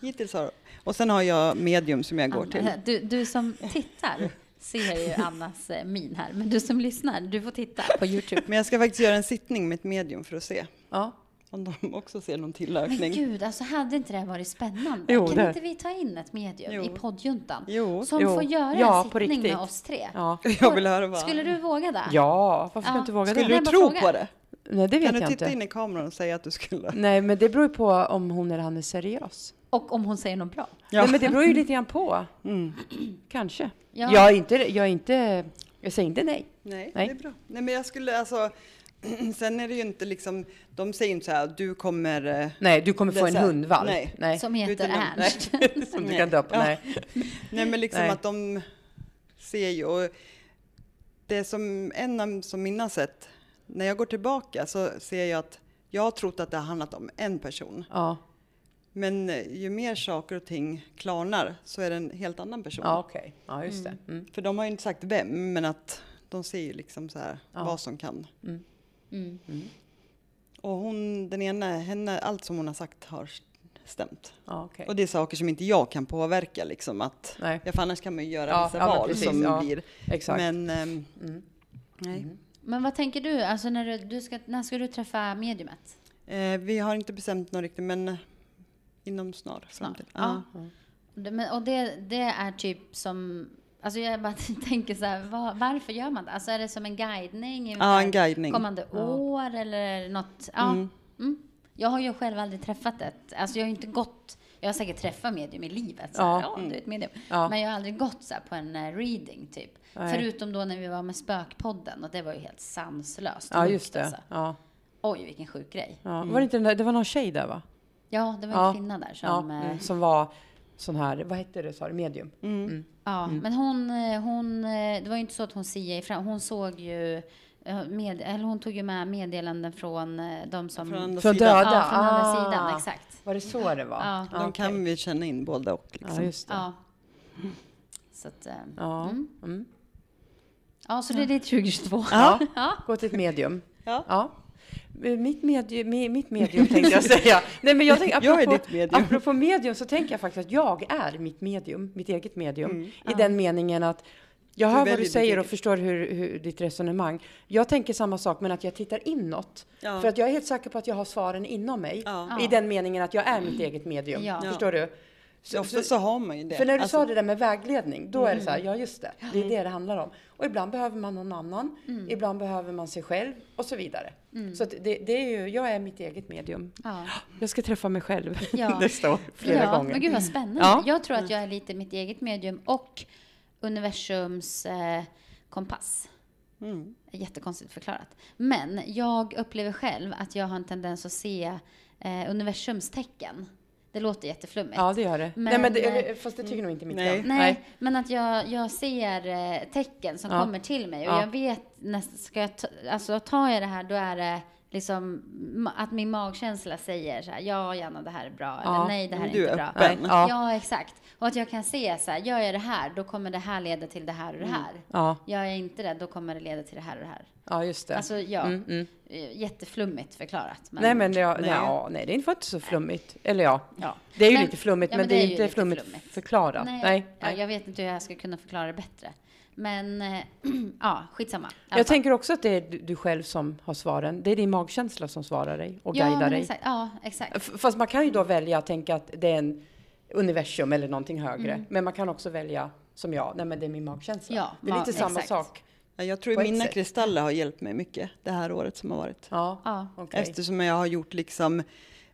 B: Hittills har Och sen har jag medium som jag går till.
C: Anna, Du, du som tittar ser ju Annas eh, min här, men du som lyssnar, du får titta på YouTube.
B: Men jag ska faktiskt göra en sittning med ett medium för att se
A: Ja.
B: om de också ser någon
C: Men
B: tillökning.
C: gud, alltså hade inte det här varit spännande?
A: Jo,
C: kan
A: det-
C: inte vi ta in ett medium
B: Jo.
C: i poddjuntan?
B: Jo.
C: Som
A: Jo.
C: får göra
A: Ja,
C: en
A: på
C: sittning med
A: riktigt.
C: oss tre.
A: Ja.
B: Jag vill höra vad...
C: Skulle du våga det?
A: ja, varför ska
C: Ja.
A: jag inte våga
B: Skulle
A: det?
C: Nej,
B: du
C: bara
B: tro
C: fråga.
B: på det?
A: Nej, det vet
B: Kan du
A: jag
B: titta
A: inte.
B: in i kameran och säga att du skulle?
A: Nej, men det beror ju på om hon eller han är seriös.
C: Och om hon säger något bra?
B: Ja. Mm.
A: Nej, men det beror ju lite grann på. Kanske.
C: Ja.
A: Jag, är inte, jag, är inte, jag säger inte nej.
B: Nej,
A: Nej.
B: det är bra. Nej, men jag skulle alltså... Sen är det ju inte liksom... De säger inte så här, du kommer... eh,
A: Nej, du kommer
B: Det
A: få
B: är
A: en
B: så här,
A: hundvalp.
B: nej.
A: nej.
C: Som heter
B: Utan namn.
C: Ernst.
A: Som du
B: Nej.
A: kan döpa.
B: Ja.
A: Nej.
B: Nej men liksom
A: Nej.
B: att de ser ju och det som en av som mina har sett, när jag går tillbaka så ser jag att jag har trott att det har handlat om en person.
A: Ja,
B: Men eh, ju mer saker och ting klarnar så är det en helt annan person.
A: ja okej. Ja, just det. Mm.
B: För de har ju inte sagt vem, men att de ser ju liksom så här
A: Ja.
B: vad som kan.
C: Mm.
B: Och hon, den ena, henne, allt som hon har sagt har stämt.
A: Ja, okej.
B: Och det är saker som inte jag kan påverka liksom att,
A: Nej,
B: ja, för annars kan man ju göra
A: Ja,
B: vissa
A: ja, men
B: val
A: precis,
B: som
A: ja.
B: blir.
A: exakt.
B: Men, ehm,
A: Mm.
B: nej.
C: Men vad tänker du? Alltså när, du, du ska, när ska du träffa mediumet?
B: Eh, vi har inte bestämt något riktigt, men eh, inom snar framtid.
C: Ja. Det- Men, och det, det är typ som... Alltså jag bara tänker så här, var, varför gör man det? Alltså är det som en guidning inför
B: Ja, en guidning.
C: kommande år eller något? Ja. Mm. Jag har ju själv aldrig träffat ett... Alltså jag har ju inte gått... Jag har säkert träffat medium i livet. Så här,
A: Ja. Mm.
C: ja, du är ett medium.
A: Ja.
C: Men jag har aldrig gått så här på en eh, reading typ.
A: Nej.
C: Förutom då när vi var med Spökpodden och det var ju helt sanslöst.
A: Ja,
C: sjukt,
A: just det.
C: alltså.
A: Ja,
C: Oj, vilken sjuk grej.
A: ja. Var det, inte den där, det var någon tjej där, va?
C: Ja, det var en
A: Ja.
C: kvinna där
A: Ja,
C: som... eh,
A: mm, som var sån här, vad hette det, sa du? Medium?
C: Ja,
A: Mm.
C: men hon, eh, hon, eh, det var ju inte så att hon siade ifrån. Hon såg ju, eh, med, eller hon tog ju med meddelanden från eh, de som...
B: Från andra
A: Från
B: sidan.
A: döda?
C: ja, från andra
A: Ah.
C: sidan, exakt.
A: Var det så det var?
C: Ja.
B: De
A: okej. typ
B: kan vi känna in båda och. Liksom.
A: Ja, just det.
C: Ja. Så att, eh,
A: Ja.
C: mm.
A: Mm.
C: ja, så det är ditt 2022.
A: Ja.
C: ja.
A: Gå till ett medium.
B: Ja.
A: Eh, Mitt, medium, mi- mitt medium tänkte jag säga. Nej, men jag, tänkte, apropå,
B: Jag är ditt medium.
A: Apropå medium så tänker jag faktiskt att jag är mitt medium, mitt eget medium. I
C: Ja.
A: den meningen att jag
B: Du
A: hör
B: Mm. väljer
A: vad du
B: ditt
A: säger
B: eget.
A: och förstår hur, hur ditt resonemang. Jag tänker samma sak men att jag tittar inåt.
B: Ja.
A: För att jag är helt säker på att jag har svaren inom mig.
B: Ja.
A: I den meningen att jag är
B: Mm.
A: mitt eget medium.
C: Ja.
A: Förstår du?
B: Så, ofta så har man ju det.
A: För när du
B: Alltså, Mm.
A: sa det där med vägledning, då är det så här, ja just det, det är det det handlar om. Och ibland behöver man någon annan,
C: Mm.
A: ibland behöver man sig själv och så vidare. Så att det, det är ju, jag är mitt eget medium.
C: Ja.
A: Jag ska träffa mig själv
C: Ja.
A: nästa år, flera
C: ja,
A: gånger.
C: Men gud vad spännande.
A: Ja.
C: Jag tror att jag är lite mitt eget medium och universums eh, kompass.
B: Mm.
C: Jättekonstigt förklarat. Men jag upplever själv att jag har en tendens att se eh, universums tecken. Det låter jätteflummigt.
A: Ja, det gör det.
C: Men- eh, mm.
A: Nej, men det eh, fast det tycker nog inte mitt
B: Nej.
A: jag.
C: Nej, men att jag, jag ser eh, tecken som
A: Ja.
C: kommer till mig och
A: Ja.
C: jag vet nästan, ska jag ta, alltså tar jag det här då är det liksom ma- att min magkänsla säger så här, ja Janna det här är bra,
A: Ja.
C: eller nej det här är
B: Du
C: inte
B: är
C: bra.
A: Nej.
B: öppen.
A: Ja.
C: Ja. exakt. Och att jag kan se så här, gör jag det här, då kommer det här leda till det här och det
A: Mm.
C: här.
A: Ja,
C: Gör jag inte det, då kommer det leda till det här och det här.
A: ja just det.
C: Alltså, ja.
A: Mm, mm.
C: Eh, Jätteflummigt förklarat. Men,
A: nej, men det, nej.
B: Nej.
A: Ja, nej, det är inte så flummigt. Eller ja,
C: ja.
A: det är ju
C: Men-
A: lite flummigt,
C: ja,
A: men, det är
C: ju
A: inte
C: lite
A: flummigt,
C: flummigt.
A: förklarat.
C: Nej,
A: Nej. Nej.
C: Ja, jag vet inte hur jag ska kunna förklara det bättre. Men eh, ja, skitsamma. I alla
A: Jag
C: fall.
A: tänker också att det är du du själv som har svaren. Det är din magkänsla som svarar dig och
C: ja,
A: guidar
C: men
A: dig.
C: Exakt, ja, exakt.
A: F- Fast man kan ju då välja att tänka att det är en universum eller någonting högre. Men man kan också välja som jag, nej men det är min magkänsla.
C: Mm. Ja,
A: det är
C: ma-
A: lite samma
C: exakt.
A: sak.
B: ja, jag tror
A: på
B: att
A: ett
B: mina
A: sätt.
B: kristaller har hjälpt mig mycket det här året som har varit.
A: Ja,
C: Ja.
A: okej.
B: Eftersom jag har gjort liksom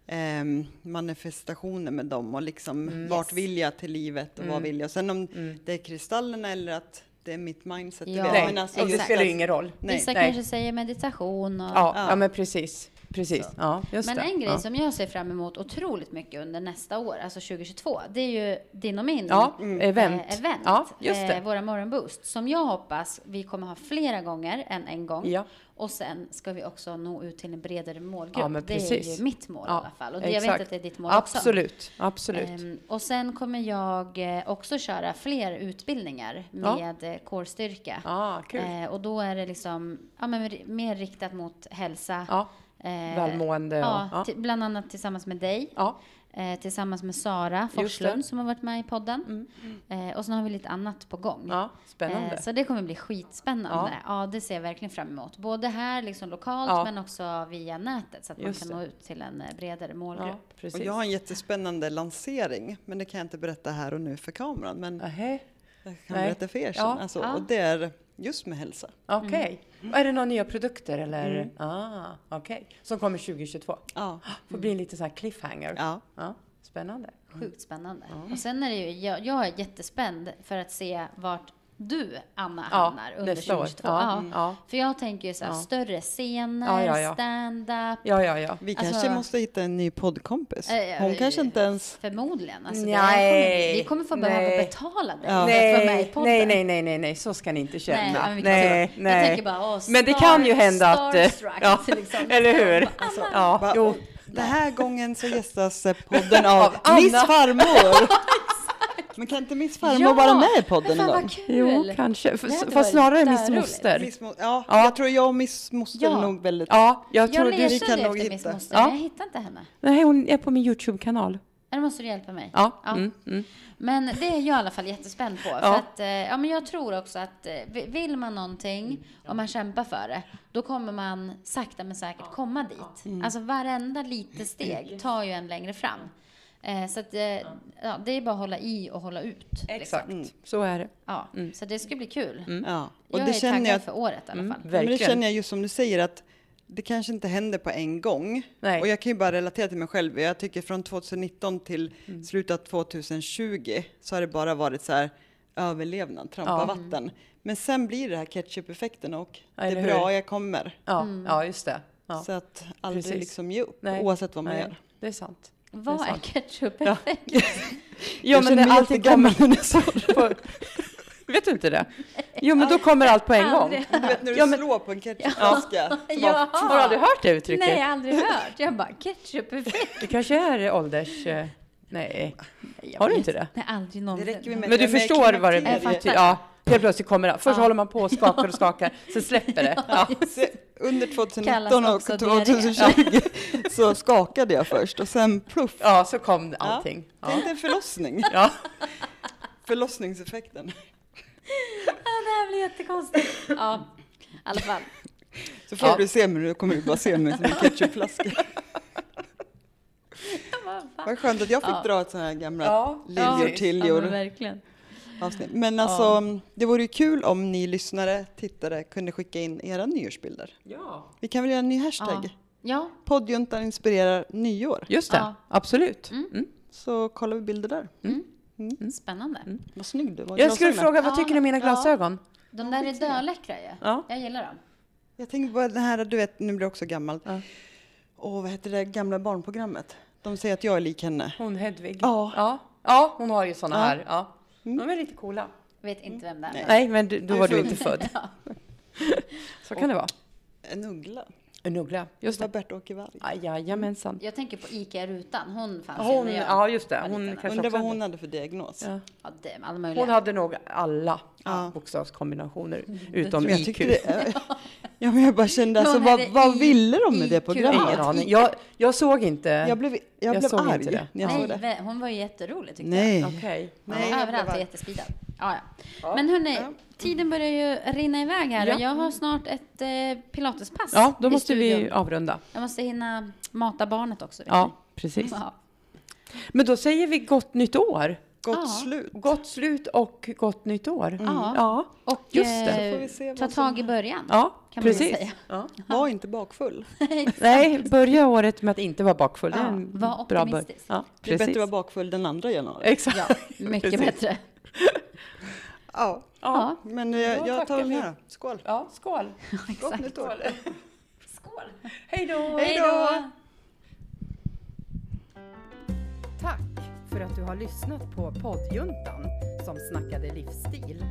B: ehm, manifestationer med dem och liksom vart
C: Mm, Yes. Mm.
B: vill jag till livet och vad vill jag. Sen om det är kristallerna eller att det är mitt mindset. det,
C: Ja.
B: vet jag.
A: Mm. Nej,
B: Men alltså,
A: och det
C: exakt.
A: spelar ju ingen roll.
B: Nej,
C: Vissa
A: nej.
C: kanske säger meditation och...
A: Ja, ja.
B: Ja.
A: men precis. Precis, ja just
C: Men
A: det.
C: en grej
A: ja.
C: som jag ser fram emot otroligt mycket under nästa år, alltså 2022, det är ju din och min
A: Ja,
C: eh,
A: event.
C: event.
A: Ja, just
C: eh,
A: det.
C: Våra morgonboost, som jag hoppas vi kommer ha flera gånger än en gång.
A: Ja.
C: Och sen ska vi också nå ut till en bredare målgrupp.
A: Ja, men
C: Det är
A: precis.
C: ju mitt mål i
A: Ja,
C: alla fall. Och det, jag vet
A: exakt.
C: att det är ditt mål också.
A: Absolut, absolut.
C: Ehm, och sen kommer jag eh, också köra fler utbildningar
A: Ja.
C: med ja. kårstyrka.
A: ah, kul.
C: Eh, och då är det liksom ja, men ri- mer riktat mot hälsa.
A: ja,
C: eh,
A: välmående och...
C: ja, typ.
A: Ja,
C: ti- bland annat tillsammans med dig.
A: ja.
C: Eh, tillsammans med Sara
A: det. Mm.
C: Forslund som har varit med i podden. Eh, och sen har vi lite annat på gång.
A: ja spännande.
C: Eh, så det kommer bli skitspännande.
A: Ja.
C: Ja. det ser jag verkligen fram emot. Både här liksom lokalt
A: Ja.
C: men också via nätet så att
A: Just
C: man kan nå ut till en eh, bredare
A: ja,
C: målgrupp.
A: precis.
B: och jag har en jättespännande lansering, men det kan jag inte berätta här och nu för kameran. Men
C: Mm.
A: Nähä,
B: jag kan
A: Nej.
B: berätta för er sen.
A: Ja.
B: Alltså,
C: Ja. Ah.
B: Och det är just med hälsa.
A: Okej. Och Är det några nya produkter eller?
C: Mm.
A: Ah, Okej. Som kommer 2022?
B: Ja.
A: Får bli en liten sån här cliffhanger.
B: ja.
A: Ja, spännande.
C: Sjukt spännande. Och sen är det ju, jag, jag är jättespänd för att se vart du, Anna, hamnar Ah, under Ah.
A: nästa år.
C: 2022.
A: Ja,
C: Ja.
A: mm, ja.
C: För jag tänker ju så här,
A: Ja.
C: större scener,
A: Ja, ja, ja.
C: stand-up.
A: Ja, ja, ja.
B: Vi
C: Alltså-
B: kanske måste hitta en ny poddkompis.
C: Eh,
B: Hon
C: eh,
B: kanske inte ens...
C: Förmodligen. Alltså, det här
A: Nej.
C: kommer, vi- vi kommer få behöva
A: Nej.
C: betala dig
B: Ja.
C: för att vara med i
A: Nej,
C: podden.
A: nej, nej, nej, nej, nej, så ska ni inte känna.
C: Nej, men
A: Nej,
C: vi kan
A: nej,
C: inte- Jag tänker bara, åh,
A: men det kan ju
C: star-
A: hända att... eh,
C: starstruck,
A: ja,
C: liksom.
A: eller hur?
C: Alltså,
A: ja,
B: Bara,
A: jo.
B: "Och Den här gången så gästas eh, podden av,
A: Av Anna."
B: Miss farmor. Men kan inte Miss farmor vara med i podden
C: men
B: en
C: fan,
B: gång?
C: vad kul!
A: Jo, kanske. F-
C: Det hade varit
A: Fast snarare
C: där
A: Miss
C: roligt.
A: Moster.
B: Miss Mo- ja,
A: Ja.
B: jag tror jag och Miss Moster
C: Ja.
B: nog väldigt...
A: Ja, jag tror
C: Jag
A: du...
B: vi kan
C: letade
B: nog
C: efter Miss
B: hitta.
C: Moster,
A: Ja.
C: men jag hittade inte henne.
A: Nej, hon är på min YouTube-kanal.
C: Eller måste du hjälpa mig?
A: Ja. Mm, mm.
C: Men det är jag i alla fall jättespänd på. För
A: Ja.
C: att, eh, ja, men jag tror också att eh, vi- vill man någonting och man kämpar för det, då kommer man sakta men säkert komma dit.
A: Mm.
C: Alltså varenda litet steg tar ju en längre fram. Eh, så att, eh, ja, det är bara att hålla i och hålla ut. liksom.
A: Exakt, Mm. så är det.
C: Ja, Så det ska bli kul.
B: Ja. Och
C: Jag
B: det
C: är
B: känner
C: taggad
B: jag,
C: för året i alla
A: Mm.
C: fall.
B: men det
A: Verkligen.
B: känner jag just som du säger att det kanske inte händer på en gång.
A: Nej.
B: Och jag kan ju bara relatera till mig själv. Jag tycker från 2019 till
A: Mm.
B: slutet av 2020 så har det bara varit så här överlevnad, trampa
A: Ja.
B: vatten. Men sen blir det här ketchup-effekten och det
A: Eller
B: är
A: hur?
B: bra jag kommer.
A: Ja, ja just det. Ja.
B: Så att aldrig
A: Precis.
B: liksom ge upp,
A: Nej.
B: oavsett vad man
A: Nej,
B: gör.
A: Det är sant.
C: Vad
A: Det är
C: är
A: sant.
C: ketchup
A: Ja. Jo, men
B: Jag känner
A: det,
B: mig
A: allting kommer...
B: jättegammal när jag sa det.
A: På... Vet du inte det? Jo, men då kommer allt på en gång.
C: Aldrig.
B: Du vet när du
A: Ja, men-
B: slår på en ketchupflaska. så bara-
C: Jaha.
A: Har du aldrig hört det uttrycket?
C: Nej, jag har aldrig hört. Jag bara, ketchup
A: Det kanske är ålders... eh, Nej,
C: Nej, jag
A: har du
C: vet.
A: inte det?
C: Nej, aldrig någonsin.
B: Det räcker ju med-
A: Men du
B: den är
A: förstår vad det
B: klimakteriet.
C: Jag
A: betyder?
C: fattar.
A: Ja, helt plötsligt kommer det. Först
C: Ja.
A: håller man på och skakar och skakar, sen släpper det. Ja.
B: Se, Under 2019
C: Kallas
B: och
C: också
B: 2020 så skakade jag först och sen pluff.
A: ja, så kom allting.
B: Ja.
A: Ja.
B: Tänk dig en förlossning.
A: Ja.
B: Förlossningseffekten.
C: Ja, det här blir jättekonstigt. Ja, i alla fall.
B: Så får
A: Ja.
B: du se mig nu, du kommer ju bara se mig som en ketchupflaska. Vad skönt att jag fick
C: Ja.
B: dra ett sånt här gamla
A: Ja,
B: liljor
A: precis.
C: Ja, men
B: tilljor
C: verkligen.
B: avsnitt. Men alltså, det vore ju kul om ni lyssnare, tittare, kunde skicka in era nyårsbilder.
A: Ja.
B: Vi kan väl göra en ny hashtag?
C: Ja. Ja,
B: Poddjuntan inspirerar nyår.
A: Just det,
C: Ja.
A: absolut. Mm.
B: Så kollar vi bilder där.
C: spännande.
A: Mm.
B: Vad snygg du var.
A: Jag skulle
B: Glasögonen.
A: fråga, vad
C: Ja,
A: tycker ni om mina
C: ja.
A: glasögon?
C: De där är döläckra ju.
A: Ja.
C: Jag gillar dem.
B: Jag tänker på det här, du vet, nu blir jag också gammal. Och vad heter det gamla barnprogrammet? De säger att jag är lik henne.
A: Hon Hedvig.
B: Ja.
A: Ja, ja hon har ju såna
B: Ja.
A: här. Ja. Mm. De är lite coola.
C: Vet inte vem det är.
B: Nej.
A: Nej, men du, då
B: är
A: var du
B: född.
A: inte född. Så kan det vara.
B: En uggla.
A: En uggla. Just
B: Det var
A: det.
B: Bert-Åke Varg.
A: Ah, Jajamensan.
C: Jag tänker på ICA-rutan. Hon fanns
A: Hon,
C: ju när jag
A: ja, just det.
C: var
A: Hon
C: liten.
A: kanske
B: Undrar vad
A: också
B: hon hade för diagnos.
A: Ja.
C: Ja, det är alla möjliga.
A: Hon hade nog alla
B: Ja.
A: bokstavskombinationer utom
B: Men jag
A: IQ.
B: tyckte det, ja, men jag bara kände alltså,
C: Hon
B: vad,
C: hade
B: vad
C: I-
B: ville de med det
C: IQ.
A: Ingen
B: programmet?
A: aning. Jag, jag såg inte.
B: Jag blev, jag
A: Jag
B: blev
A: såg inte
B: arg
A: det.
B: när jag
C: Nej,
B: såg det.
C: vä- hon var ju jätterolig tyckte jag.
B: Nej.
A: Okej.
B: Nej, jag
C: Ja,
B: blev
C: överallt och
B: arg.
C: jättespeedad. Ja, ja. Men hörni, tiden börjar ju rinna iväg här
A: Ja.
C: och jag har snart ett eh, pilatespass
A: Ja, då
C: i
A: måste vi
C: studion.
A: avrunda.
C: Jag måste hinna mata barnet också. vet
A: Ja,
C: ni.
A: precis.
C: Ja.
A: Men då säger vi gott nytt år.
B: Gott
C: Ja.
B: slut.
A: Gott slut och gott nytt år.
C: Ja.
A: Mm. Ja,
C: Och
A: Just det.
C: eh,
B: Får vi se vad
C: ta
B: som-
C: tag i början.
A: ja
C: Kan man väl
A: precis.
C: säga.
A: Ja.
B: Var inte bakfull.
A: Nej, börja året med att inte vara bakfull. det är
C: Ja,
A: en
C: var
A: bra bör-
C: optimistisk.
A: Ja,
B: Det är bättre
A: precis. Eh.
B: att vara bakfull den andra januari.
A: Exakt.
C: Ja, mycket
A: Precis.
C: bättre.
B: Ja,
C: Ja,
B: men eh, jag,
A: Då
B: jag tar
A: tackar
B: väl
A: vi.
B: med då. Skål.
A: Ja, skål.
B: Gott
C: exakt.
B: nytt år.
C: Skål!
A: Hej då!
C: Hej då!
A: Tack för att du har lyssnat på poddjuntan som snackade livsstil.